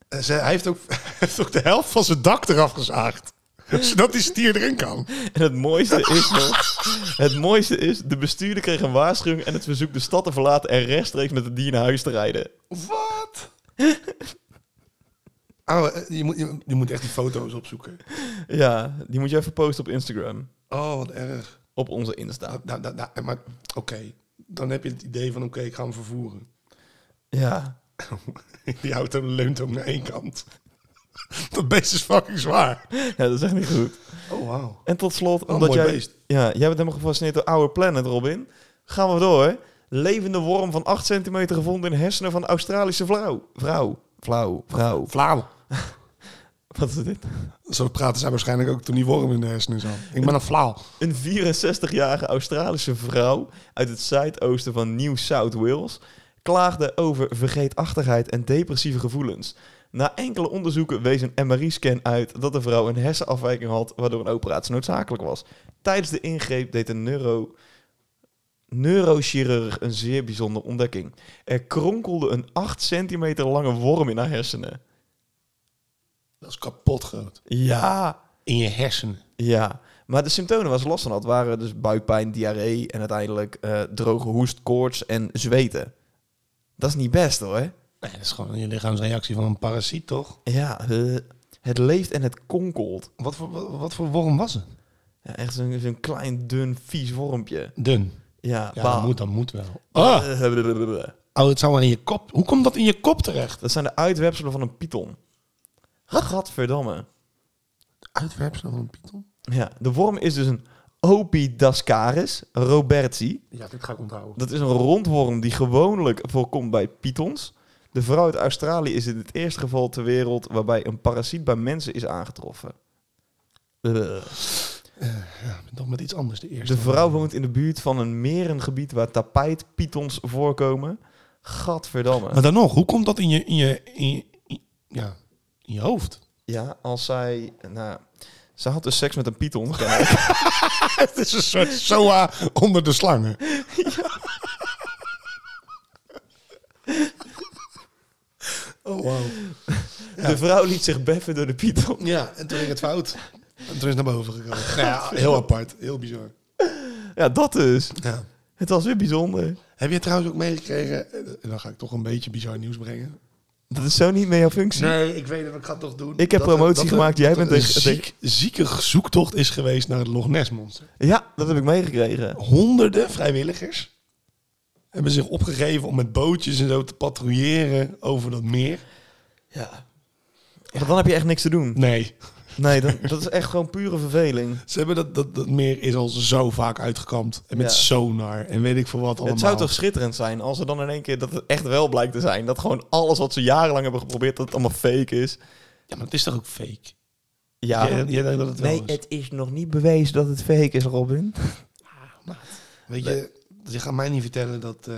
C: Eh, ze- Hij heeft ook, hij heeft ook de helft van zijn dak eraf gezaagd. Zodat die stier erin kan.
B: En het mooiste is nog... Het mooiste is, de bestuurder kreeg een waarschuwing en het verzoek de stad te verlaten en rechtstreeks met de dier naar huis te rijden.
C: Wat? Oh, eh, je, moet, je, je moet echt die foto's opzoeken.
B: Ja, die moet je even posten op Instagram.
C: Oh, wat erg.
B: Op onze Insta.
C: Nou, nou, nou, maar oké, dan heb je het idee van oké, ik ga hem vervoeren.
B: Ja.
C: Die auto leunt ook naar één kant. Dat beest is fucking zwaar.
B: ja, dat is echt niet goed.
C: Oh, wauw.
B: En tot slot,
C: een
B: omdat
C: mooi
B: jij,
C: beest.
B: ja, jij bent helemaal gefascineerd door Our Planet, Robin. Gaan we door. Levende worm van 8 centimeter gevonden in hersenen van Australische vrouw. Vrouw. Vrouw. Vrouw.
C: Flauw.
B: Wat is dit?
C: Zo praten zij waarschijnlijk ook toen die worm in de hersenen zat. Ik ben een flauw.
B: Een 64-jarige Australische vrouw uit het zuidoosten van New South Wales klaagde over vergeetachtigheid en depressieve gevoelens. Na enkele onderzoeken wees een MRI-scan uit dat de vrouw een hersenafwijking had, waardoor een operatie noodzakelijk was. Tijdens de ingreep deed een neuro neurochirurg een zeer bijzondere ontdekking. Er kronkelde een 8 centimeter lange worm in haar hersenen.
C: Dat is kapot groot.
B: Ja,
C: In je hersenen.
B: Ja, maar de symptomen waar ze last van had waren dus buikpijn, diarree en uiteindelijk eh, droge hoest, koorts en zweten. Dat is niet best hoor.
C: Nee, dat is gewoon je lichaamsreactie van een parasiet, toch?
B: Ja, eh, het leeft en het konkelt.
C: Wat voor, wat, wat voor worm was het?
B: Ja, echt zo'n zo'n klein, dun, vies wormpje.
C: Dun.
B: Ja,
C: Ja,
B: bah.
C: dat moet, dat moet wel. Ah, oh, het zou maar in je kop. Hoe komt dat in je kop terecht?
B: Dat zijn de uitwepselen van een python. Gadverdamme.
C: Uitwerpsel van een python?
B: Ja, de worm is dus een Opidascaris robertsi.
C: Ja, dit ga ik onthouden.
B: Dat is een rondworm die gewoonlijk voorkomt bij pythons. De vrouw uit Australië is in het eerste geval ter wereld waarbij een parasiet bij mensen is aangetroffen. Ugh.
C: Ja, nog met iets anders de eerste.
B: De vrouw woont in de buurt van een merengebied waar tapijtpythons voorkomen.
C: Maar
B: Gadverdamme.
C: dan nog, hoe komt dat in je, in je, in je, in- ja, in je hoofd?
B: Ja, als zij... Nou, ze had dus seks met een python.
C: Het is een soort soa onder de slangen. Oh, wow.
B: De vrouw liet zich beffen door de python.
C: Ja, en toen ging het fout. En toen is het naar boven gekomen. Nou ja, heel apart. Heel bizar.
B: Ja, dat dus.
C: Ja.
B: Het was weer bijzonder.
C: Heb je trouwens ook meegekregen... eh, Dan ga ik toch een beetje bizar nieuws brengen.
B: Dat is zo niet meer jouw functie.
C: Nee, ik weet het, maar ik ga het toch doen.
B: Ik heb
C: er-
B: promotie
C: er-
B: gemaakt, jij
C: dat
B: bent
C: er een
B: tegen-
C: ziek, zieke zoektocht is geweest naar het Loch Ness Monster.
B: Ja, dat heb ik meegekregen.
C: honderden vrijwilligers hebben zich opgegeven om met bootjes en zo te patrouilleren over dat meer.
B: Ja. Want dan heb je echt niks te doen.
C: Nee.
B: Nee, dan, dat is echt gewoon pure verveling.
C: Ze hebben dat, dat, dat meer is al zo vaak uitgekampt. En met
B: Ja.
C: sonar en weet ik veel wat allemaal.
B: Het zou toch schitterend zijn als er dan in één keer dat het echt wel blijkt te zijn. Dat gewoon alles wat ze jarenlang hebben geprobeerd, dat het allemaal fake is.
C: Ja, maar het is toch ook fake?
B: Ja.
C: Jij, jij denkt dat het wel
B: nee,
C: is?
B: het is nog niet bewezen dat het fake is, Robin. Ah,
C: Weet je, je gaat mij niet vertellen dat... eh,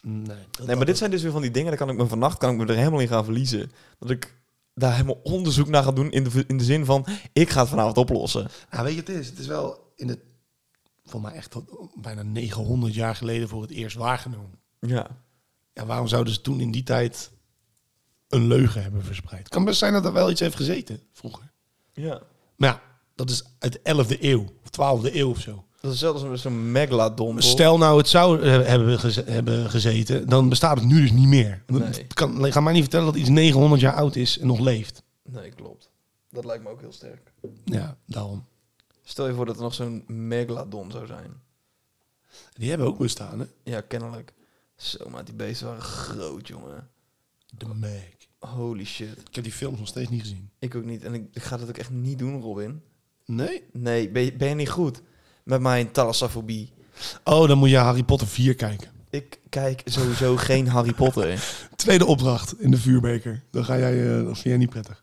C: nee, dat-
B: Nee, maar dit zijn dus weer van die dingen, daar kan ik me vannacht kan ik me er helemaal in gaan verliezen. Dat ik daar helemaal onderzoek naar ga doen in de, in de zin van, ik ga het vanavond oplossen.
C: Nou, weet je, wat het is. Het is wel in het, voor mij echt tot bijna 900 jaar geleden voor het eerst waargenomen.
B: Ja.
C: En waarom zouden ze toen in die tijd een leugen hebben verspreid? Kan best zijn dat er wel iets heeft gezeten vroeger.
B: ja.
C: Maar ja, dat is uit de 11e eeuw, of 12e eeuw of zo.
B: Dat is zelfs een- zo'n megalodon. toch?
C: Stel nou het zou eh, hebben, geze- hebben gezeten, dan bestaat het nu dus niet meer.
B: Nee.
C: Het Kan, ga mij niet vertellen dat iets 900 jaar oud is en nog leeft.
B: Nee, klopt. Dat lijkt me ook heel sterk.
C: Ja, daarom.
B: Stel je voor dat er nog zo'n megalodon zou zijn.
C: Die hebben ook bestaan, hè?
B: Ja, kennelijk. Zo, maar die beesten waren groot, jongen.
C: De Meg.
B: Holy shit.
C: Ik heb die films nog steeds niet gezien.
B: Ik ook niet. En ik, ik ga dat ook echt niet doen, Robin.
C: Nee?
B: Nee, ben je, ben je niet goed met mijn thalassafobie?
C: Oh, dan moet je Harry Potter 4 kijken.
B: Ik kijk sowieso geen Harry Potter.
C: Tweede opdracht in de vuurbeker. Dan ga jij, eh, dat vind jij niet prettig.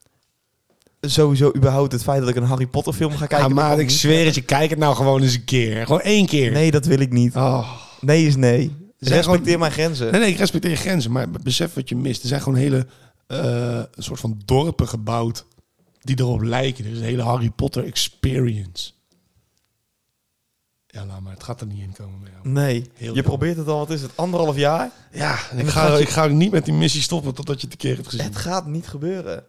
B: Sowieso überhaupt het feit dat ik een Harry Potter film ga kijken.
C: ja,
B: dat
C: Ah, maar
B: kan
C: ik
B: niet.
C: zweer het je, kijk het nou gewoon eens een keer. Gewoon één keer.
B: Nee, dat wil ik niet.
C: Oh.
B: Nee is nee.
C: Zeg
B: Respecteer
C: gewoon-
B: mijn grenzen.
C: nee, nee, ik respecteer je grenzen, maar besef wat je mist. Er zijn gewoon hele eh, een soort van dorpen gebouwd die erop lijken. Er is een hele Harry Potter experience. Ja, laat maar. Het gaat er niet in komen bij jou.
B: Nee.
C: Heel
B: je
C: dom.
B: probeert het al, wat is het, anderhalf jaar?
C: Ja, en
B: En
C: ik
B: het
C: ga,
B: gaat je-
C: ik ga ook niet met die missie stoppen totdat je het een keer hebt gezien.
B: Het gaat niet gebeuren.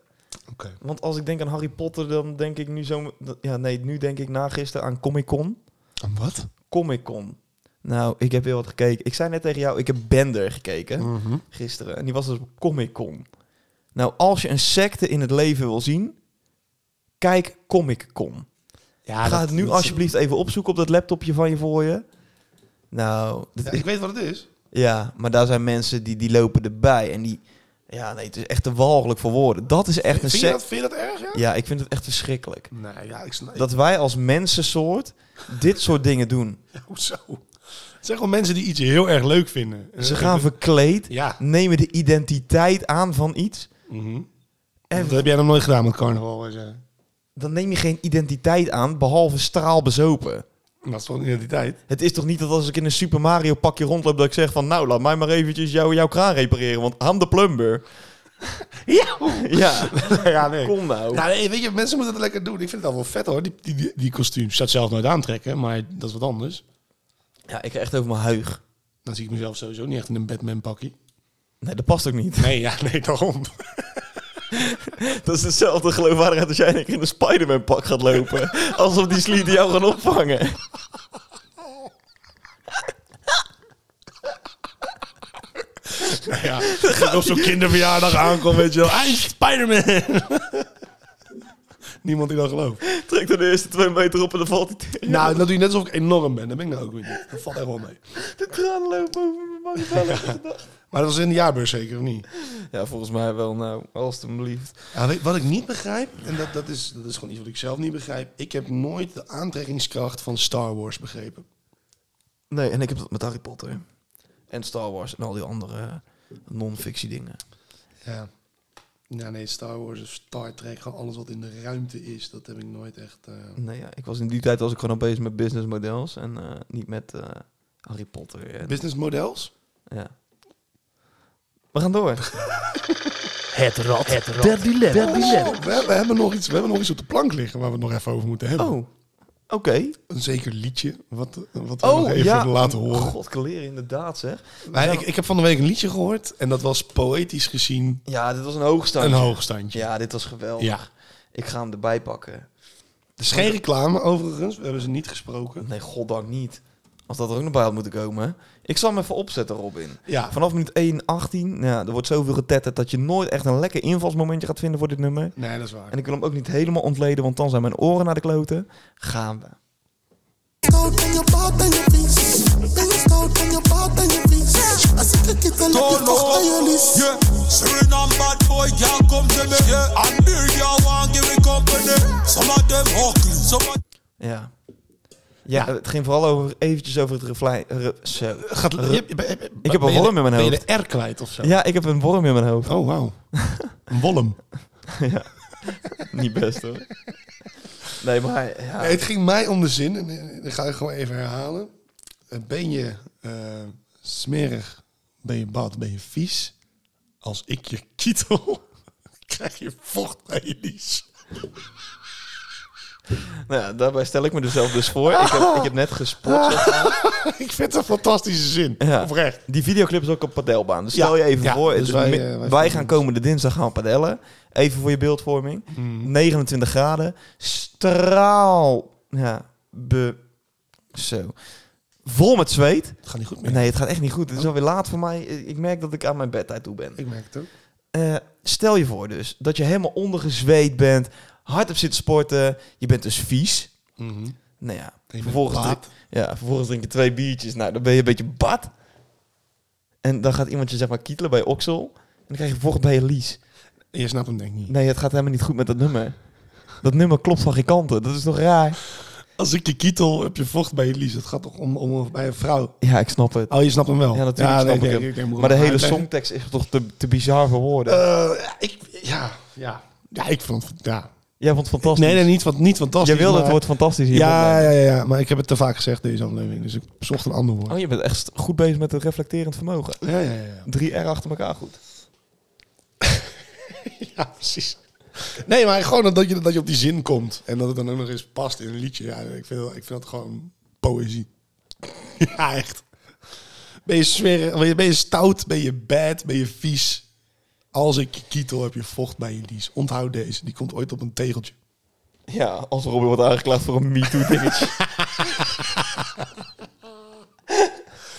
C: Oké.
B: Want als ik denk aan Harry Potter, dan denk ik nu zo... Ja, nee, nu denk ik na gisteren aan Comic Con.
C: En wat?
B: Comic Con. Nou, ik heb heel wat gekeken. Ik zei net tegen jou, ik heb Bender gekeken
C: Mhm.
B: gisteren. En die was dus op Comic Con. Nou, als je een secte in het leven wil zien, kijk Comic Con.
C: Ja,
B: Ga
C: Ah, dat-
B: het nu
C: dat-
B: alsjeblieft even opzoeken op dat laptopje van je voor je. Nou, dat
C: Ja,
B: is-
C: ik weet wat het is.
B: ja, maar daar zijn mensen die, die lopen erbij. En die, ja, nee, het is echt te walgelijk voor woorden. Dat is echt een
C: vind, je
B: secte.
C: dat, vind je dat erg, ja?
B: Ja, ik vind het echt verschrikkelijk.
C: Nee, ja, ik snap...
B: Dat wij als mensensoort dit soort dingen doen.
C: Hoezo? Het zijn gewoon mensen die iets heel erg leuk vinden.
B: Ze
C: Eh,
B: gaan verkleed
C: Ja.
B: nemen de identiteit aan van iets.
C: Mhm.
B: En
C: Dat heb jij nog nooit gedaan met carnaval. eh, zo.
B: dan neem je geen identiteit aan, behalve straalbezopen.
C: Dat is toch een identiteit?
B: Het is toch niet dat als ik in een Super Mario pakje rondloop... dat ik zeg van, nou, laat mij maar eventjes jou, jouw kraan repareren... want I'm de plumber.
C: Ja!
B: Ja,
C: ja, nee.
B: kom nou.
C: Nou, nee, weet je, mensen moeten het lekker doen. Ik vind het al wel vet hoor, die, die, die, die kostuum. Ik zou het zelf nooit aantrekken, maar dat is wat anders.
B: Ja, ik krijg echt over mijn huig.
C: Dan zie ik mezelf sowieso niet echt in een Batman-pakkie.
B: Nee, dat past ook niet.
C: Nee, ja, nee, daarom.
B: Dat is dezelfde geloofwaardigheid als jij een keer in een Spider-Man pak gaat lopen. Alsof die slieten jou gaan opvangen.
C: Nou ja, dat ik op zo'n kinderverjaardag aankom, weet je wel. Hij is Spider-Man! Niemand die dat gelooft.
B: Trek er de eerste twee meter op en dan valt hij tegen.
C: Nou, dat doe je net alsof ik enorm ben. Dat ben ik nou ook weer niet. Dat valt echt wel mee.
B: De tranen lopen over mijn magnetalen.
C: Maar dat was in de jaarbeurs zeker, of niet?
B: Ja, volgens mij wel, nou, alstublieft.
C: Ja, weet- wat ik niet begrijp, en dat, dat, is, dat is gewoon iets wat ik zelf niet begrijp. Ik heb nooit de aantrekkingskracht van Star Wars begrepen.
B: Nee, en ik heb dat met Harry Potter. En Star Wars en al die andere eh, non-fictie dingen.
C: Ja. Ja, nee, Star Wars of Star Trek, gewoon alles wat in de ruimte is, dat heb ik nooit echt... eh,
B: Nee, ja, ik was in die tijd was ik gewoon al bezig met business models en eh, niet met eh, Harry Potter. En,
C: Business models?
B: ja. We gaan door.
D: Het rad. Het rad. Der dilemma.
C: Oh, we, we hebben nog iets, we hebben nog iets op de plank liggen waar we het nog even over moeten hebben.
B: Oh, oké.
C: Een zeker liedje, wat, wat we nog
B: Oh,
C: even
B: ja. nou.
C: laten horen.
B: God, kleren, inderdaad zeg.
C: Maar ik, ik heb van de week een liedje gehoord en dat was poëtisch gezien
B: Ja, dit was een hoogstand.
C: een hoogstandje.
B: Ja, dit was geweldig.
C: Ja.
B: Ik ga hem erbij pakken.
C: Het is geen reclame overigens, we hebben ze niet gesproken.
B: Nee, goddank niet. Als dat er ook nog bij had moeten komen. Ik zal hem even opzetten, Robin.
C: Ja,
B: Vanaf minuut 1, 18. Ja, er wordt zoveel getetterd dat je nooit echt een lekker invalsmomentje gaat vinden voor dit nummer.
C: nee, dat is waar.
B: En ik wil hem ook niet helemaal ontleden, want dan zijn mijn oren naar de kloten. Gaan we.
E: Cold when you're bald and your face. When it's cold when you're bald and your face. I said, look at the look at the
A: Tolo.
E: stylist.
A: Yeah.
F: Suriname bad boy, y'all come to me. Yeah, I'm here, y'all want give me company. Some of them hawking, some of
B: Ja. Ja, het ging vooral over, eventjes over het reflei... re- zo.
C: Gaat, je, je- je- je-
B: Ik heb
C: ben
B: een
C: je
B: worm
C: de-
B: in mijn
C: Ben je
B: hoofd.
C: de R kwijt of zo?
B: Ja, ik heb een worm in mijn hoofd.
C: Oh, wauw. Een wollum.
B: Niet best hoor. Nee, maar ja.
C: Nee, het ging mij om de zin, en eh, dat ga ik gewoon even herhalen. Eh, Ben je eh, smerig, ben je bad, ben je vies? Als ik je kietel, krijg je vocht bij je lies.
B: Nou, ja, daarbij stel ik me er zelf dus voor. Ik heb, ik heb net gespot. zeg maar.
C: ik vind het een fantastische zin,
B: Ja.
C: oprecht.
B: Die videoclip is ook op padelbaan. Dus stel
C: Ja,
B: je even
C: ja,
B: voor.
C: dus
B: het is
C: wij,
B: mi-
C: eh, wij
B: wij,
C: vinden
B: gaan
C: het.
B: komende dinsdag gaan padellen. Even voor je beeldvorming.
C: Mm.
B: 29 graden. Straal. Ja, be... Zo. Vol met zweet.
C: Het gaat niet goed meer.
B: Nee, het gaat echt niet goed. Het is alweer laat voor mij. Ik merk dat ik aan mijn bedtijd toe ben.
C: Ik merk het ook.
B: Eh, stel je voor dus dat je helemaal ondergezweet bent, hard op zit sporten, je bent dus vies. Nou ja,
C: Mhm. bent
B: vervolgens,
C: baat.
B: ja, vervolgens drink je twee biertjes, nou dan ben je een beetje bad. En dan gaat iemand je zeg maar kietelen bij je oksel en dan krijg je vocht bij je lies.
C: Je snapt hem denk ik niet.
B: Nee, het gaat helemaal niet goed met dat nummer. Dat nummer klopt van geen kanten, dat is toch raar?
C: Als ik je kietel, heb je vocht bij je lies. Het gaat toch om, om bij een vrouw?
B: Ja, ik snap het.
C: Oh, je snapt hem wel.
B: Ja, natuurlijk
C: nee,
B: snap
C: nee,
B: ik
C: ik
B: hem.
C: denk, moet
B: maar de
C: hem
B: hele
C: uitleggen.
B: songtekst is toch te, te bizar voor woorden.
C: Eh, ja, ik, ja, ja. Ja, ik vond het... Ja.
B: Jij vond het fantastisch.
C: Nee, nee, niet, van- niet fantastisch.
B: Jij wilde het
C: maar-
B: woord fantastisch hier
C: Ja, ja, ja, ja, maar ik heb het te vaak gezegd deze aflevering, dus ik zocht een ander woord.
B: Oh, je bent echt goed bezig met het reflecterend vermogen.
C: Ja, ja, ja, ja.
B: Drie R achter elkaar goed.
C: Ja, precies. Nee, maar gewoon dat je, dat je op die zin komt en dat het dan ook nog eens past in een liedje. Ja, ik vind, dat- ik vind dat gewoon poëzie. Ja, echt. Ben je, smerig, ben je- ben je stout, ben je bad, ben je vies. Als ik je kietel, heb je vocht bij je lies. Onthoud deze, die komt ooit op een tegeltje.
B: Ja, als Robin wordt aangeklaagd voor een MeToo-dingetje.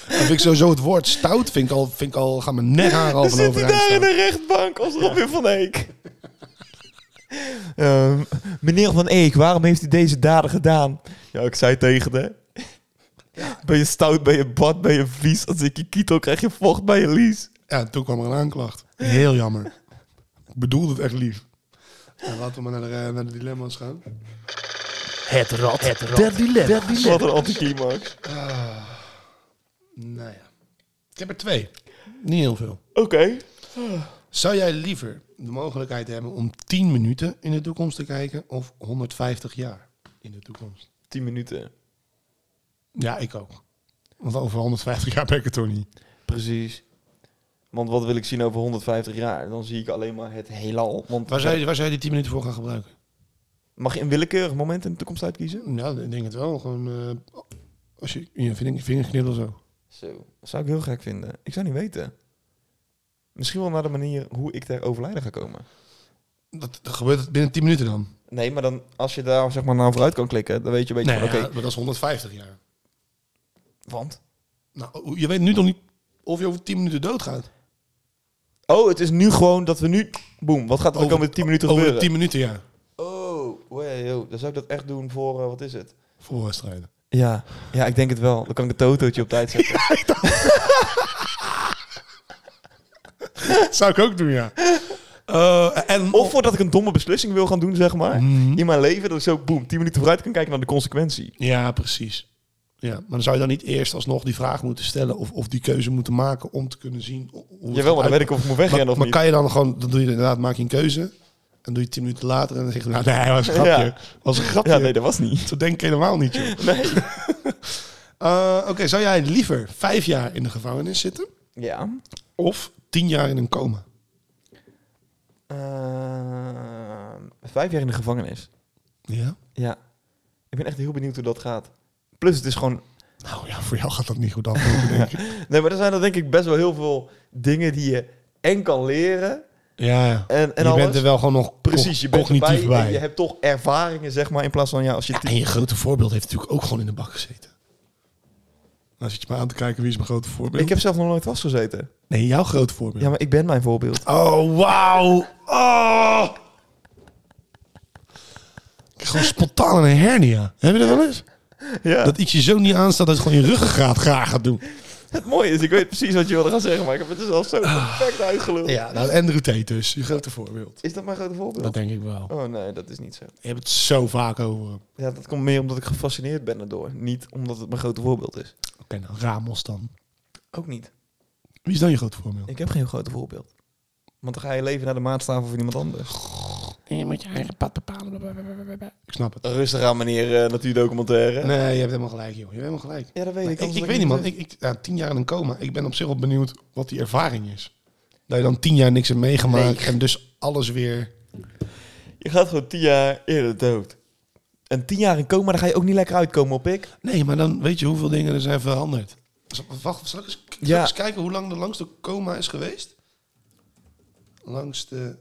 C: Dan vind ik sowieso het woord stout, vind ik al, vind ik al gaan mijn nekhaar al
B: Dan
C: van
B: zit hij
C: overeind
B: daar in
C: staan.
B: de rechtbank als Robin van Eek. Ehm, meneer van Eek, waarom heeft u deze daden gedaan? Ja, ik zei tegen de... Ben je stout, ben je bad, ben je vies. Als ik je kietel, krijg je vocht bij je lies.
C: Ja, toen kwam er een aanklacht. Heel jammer. Ik bedoelde het echt lief. Ja, laten we maar naar de, eh, naar de dilemma's gaan.
D: Het rad, het rad der dilemma's.
B: Wat een anticlimax.
C: Nou ja. Ik heb er twee. Niet heel veel.
B: Oké.
C: Zou jij liever de mogelijkheid hebben om 10 minuten in de toekomst te kijken of 150 jaar in de toekomst?
B: Tien minuten.
C: Ja, ik ook. Want over 150 jaar ben ik het toch niet.
B: Precies. Want wat wil ik zien over 150 jaar? Dan zie ik alleen maar het heelal. Want
C: Waar zou, je, waar zou je die 10 minuten voor gaan gebruiken?
B: Mag je een willekeurig moment in de toekomst uitkiezen?
C: Nou, ik denk het wel. Gewoon eh, als je in je vinger, vinger knipt of zo.
B: Zo. Zou ik heel gek vinden. Ik zou niet weten. Misschien wel naar de manier hoe ik ter overlijden ga komen.
C: Dat, dat gebeurt het binnen 10 minuten dan.
B: Nee, maar dan als je daar zeg maar naar vooruit kan klikken, dan weet je een beetje
C: Nee,
B: van oké,
C: ja, maar dat is 150 jaar.
B: want
C: Nou, je weet nu nog niet of je over 10 minuten doodgaat.
B: Oh, het is nu gewoon dat we nu boem, wat gaat er de
C: Over-
B: komende 10 minuten
C: Over de
B: gebeuren?
C: 10 minuten, ja.
B: Oh, wow, yo, dan zou ik dat echt doen voor eh, wat is het?
C: Voor wedstrijden.
B: Ja. Ja, ik denk het wel. Dan kan ik het totootje op tijd zetten.
C: Zou ik ook doen, ja. Eh, en
B: Of voordat ik een domme beslissing wil gaan doen, zeg maar,
C: Mhm.
B: in mijn leven, dat ik zo boem, 10 minuten vooruit kan kijken naar de consequentie.
C: Ja, precies. Ja, maar dan zou je dan niet eerst alsnog die vraag moeten stellen of, of die keuze moeten maken om te kunnen zien hoe het
B: Jawel, maar dan
C: eruit-
B: weet ik of ik moet wegrennen
C: maar,
B: of
C: maar
B: niet.
C: kan je dan gewoon, dan doe je inderdaad, maak je een keuze. En doe je tien minuten later en dan zeg je, nou nee, was een grapje.
B: Ja.
C: Was een grapje.
B: Ja, nee, dat was niet.
C: Zo denk ik helemaal niet, joh. Eh, Oké, zou jij liever vijf jaar in de gevangenis zitten
B: Ja.
C: of tien jaar in een coma?
B: Eh, vijf jaar in de gevangenis.
C: Ja.
B: Ja. Ik ben echt heel benieuwd hoe dat gaat. Plus, het is gewoon.
C: Nou ja, voor jou gaat dat niet goed aflopen, denk ik.
B: Nee, maar er zijn er denk ik best wel heel veel dingen die je en kan leren.
C: Ja, ja.
B: En, en
C: je
B: alles.
C: bent er wel gewoon nog
B: Precies, je bent
C: cognitief
B: erbij,
C: bij.
B: en Je hebt toch ervaringen, zeg maar, in plaats van ja, als je.
C: Ja, en je grote voorbeeld heeft natuurlijk ook gewoon in de bak gezeten. Nou zit je maar aan te kijken wie is mijn grote voorbeeld.
B: Ik heb zelf nog nooit vastgezeten.
C: Nee, jouw grote voorbeeld.
B: Ja, maar ik ben mijn voorbeeld.
C: Oh, wauw. Oh. Ik heb Gewoon spontaan een hernia. Heb je dat wel eens?
B: Ja.
C: Dat iets je zo niet aanstaat dat het gewoon je ruggengraat graag gaat doen.
B: Het mooie is, ik weet precies wat je wilde gaan zeggen, maar ik heb het dus al zo perfect uitgeluld.
C: Ah. Ja, nou Andrew Tate dus. Je grote voorbeeld.
B: Is dat mijn grote voorbeeld?
C: Dat denk ik wel.
B: Oh nee, dat is niet zo.
C: Je hebt het zo vaak over. Oké,
B: Ja, dat komt meer omdat ik gefascineerd ben erdoor. Niet omdat het mijn grote voorbeeld is.
C: nou Ramos dan.
B: Ook niet.
C: Wie is dan je grote voorbeeld?
B: Ik heb geen grote voorbeeld. Want dan ga je leven naar de maatstaven van iemand anders.
C: Je moet je eigen pad bepalen. Ik snap het.
B: Rustig aan, meneer eh natuurdocumentaire.
C: Nee, je hebt helemaal gelijk, joh. Je hebt helemaal gelijk.
B: Ja, dat weet
C: Maar
B: ik.
C: ik, ik, weet niet, man. Ik, ik, ja, tien jaar in een coma. Ik ben op zich wel benieuwd wat die ervaring is. Dat je dan tien jaar niks hebt meegemaakt en dus alles weer...
B: Je gaat gewoon tien jaar eerder dood. En tien jaar in coma, daar ga je ook niet lekker uitkomen op ik.
C: Nee, maar dan weet je hoeveel dingen er zijn veranderd. Z- Wacht, zal ik eens, zal ik
B: Ja.
C: eens kijken hoe lang de langste coma is geweest? Langste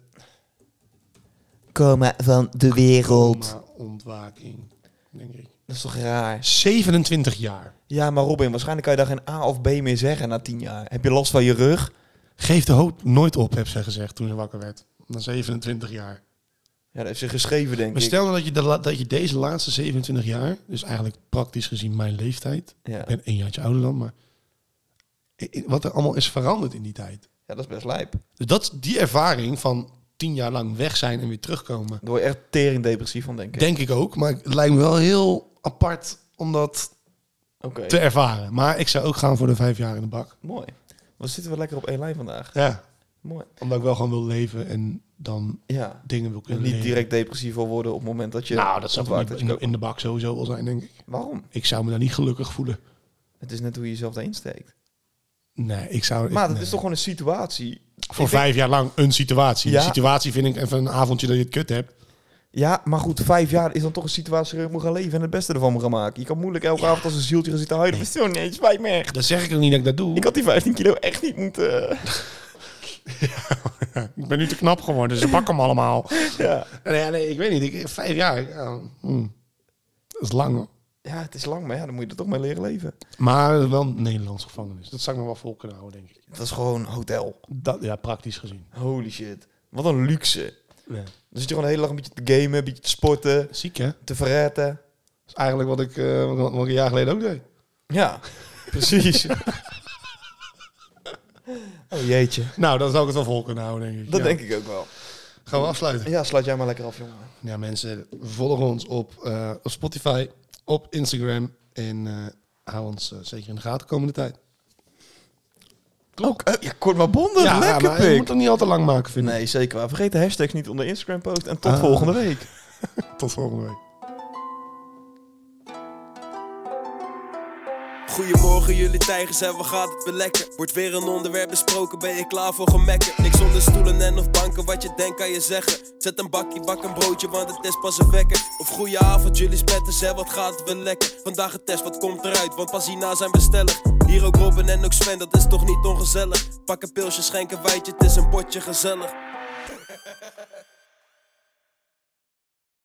B: Coma van de wereld.
C: coma-ontwaking, denk ik.
B: Dat is toch raar?
C: 27 jaar.
B: Ja, maar Robin, waarschijnlijk kan je daar geen A of B meer zeggen na tien jaar. Heb je last van je rug?
C: Geef de hoop nooit op, heb zij gezegd toen ze wakker werd. Na 27 jaar.
B: Ja, dat heeft ze geschreven, denk
C: Maar
B: ik.
C: stel nou dat je, de la- dat je deze laatste 27 jaar, dus eigenlijk praktisch gezien mijn leeftijd,
B: Ja.
C: ik ben één jaartje ouder dan, maar i- i- wat er allemaal is veranderd in die tijd.
B: ja, dat is best lijp.
C: Dus dat, die ervaring van tien jaar lang weg zijn en weer terugkomen,
B: Daar word je echt tering depressief van, denk ik.
C: denk ik ook, maar het lijkt me wel heel apart om dat
B: Oké,
C: te ervaren. Maar ik zou ook gaan voor de vijf jaar in de bak.
B: mooi. We zitten we lekker op één lijn vandaag.
C: Ja,
B: Mooi.
C: omdat ik wel gewoon wil leven en dan
B: Ja.
C: dingen wil kunnen
B: En niet
C: leren.
B: direct depressief wil worden op het moment dat je...
C: Nou, dat zou toch
B: ontwaakt
C: niet
B: je
C: in de,
B: ook-
C: in de bak sowieso wel zijn, denk ik.
B: Waarom?
C: Ik zou me daar niet gelukkig voelen.
B: Het is net hoe je jezelf daarin steekt.
C: Nee, ik zou...
B: Maar dat
C: nee.
B: is toch gewoon een situatie.
C: Voor
B: Ik denk-
C: vijf jaar lang een situatie.
B: Ja.
C: Een situatie vind ik even een avondje dat je het kut hebt.
B: Ja, maar goed, vijf jaar is dan toch een situatie waarin je moet gaan leven en het beste ervan moet gaan maken. Je kan moeilijk elke avond als een zieltje gaan zitten huilen. Zo, nee, het spijt me echt.
C: Dat zeg ik ook niet dat ik dat doe.
B: Ik had die 15 kilo echt niet moeten...
C: Ik ben nu te knap geworden, ze pakken hem allemaal.
B: ja.
C: Nee, nee, ik weet niet. Ik, vijf jaar. ja, hm. Dat is lang hoor.
B: ja, het is lang, maar ja, dan moet je er toch mee leren leven.
C: Maar wel een Nederlands gevangenis. Dat zou ik me wel vol kunnen houden, denk ik.
B: Dat is gewoon hotel.
C: Dat, ja, praktisch gezien.
B: Holy shit. Wat een luxe.
C: Ja.
B: Dan zit je gewoon de hele dag een beetje te gamen, een beetje te sporten,
C: Ziek hè? Dat
B: te verretten.
C: is eigenlijk wat ik, eh, wat, wat ik een jaar geleden ook deed.
B: Ja, precies. oh jeetje.
C: Nou, dan zou ik het wel vol kunnen houden, denk ik.
B: Dat
C: Ja.
B: denk ik ook wel.
C: Gaan we afsluiten.
B: Ja, sluit jij maar lekker af, jongen.
C: Ja, mensen, volg ons op, eh, op Spotify, op Instagram en eh, hou ons eh, zeker in de gaten de komende tijd.
B: Ook, eh, ja, kort maar bondig. lekker
C: maar nou, je
B: pik.
C: moet het niet al te lang maken, vind ik.
B: Nee, zeker waar. Vergeet de hashtags niet onder Instagram post. En tot
C: Ah.
B: volgende week.
C: Tot volgende week.
A: Goedemorgen jullie tijgers en wat gaat het weer lekker? Wordt weer een onderwerp besproken, ben je klaar voor gemekken? Niks onder stoelen en of banken, wat je denkt kan je zeggen Zet een bakje, bak een broodje, want het is pas een wekker Of goeie avond jullie spetters en wat gaat het weer lekker? Vandaag getest, wat komt eruit, want pas hierna zijn we stellig Hier ook Robin en ook Sven, dat is toch niet ongezellig? Pak een pilsje, schenk een wijtje, het is een potje gezellig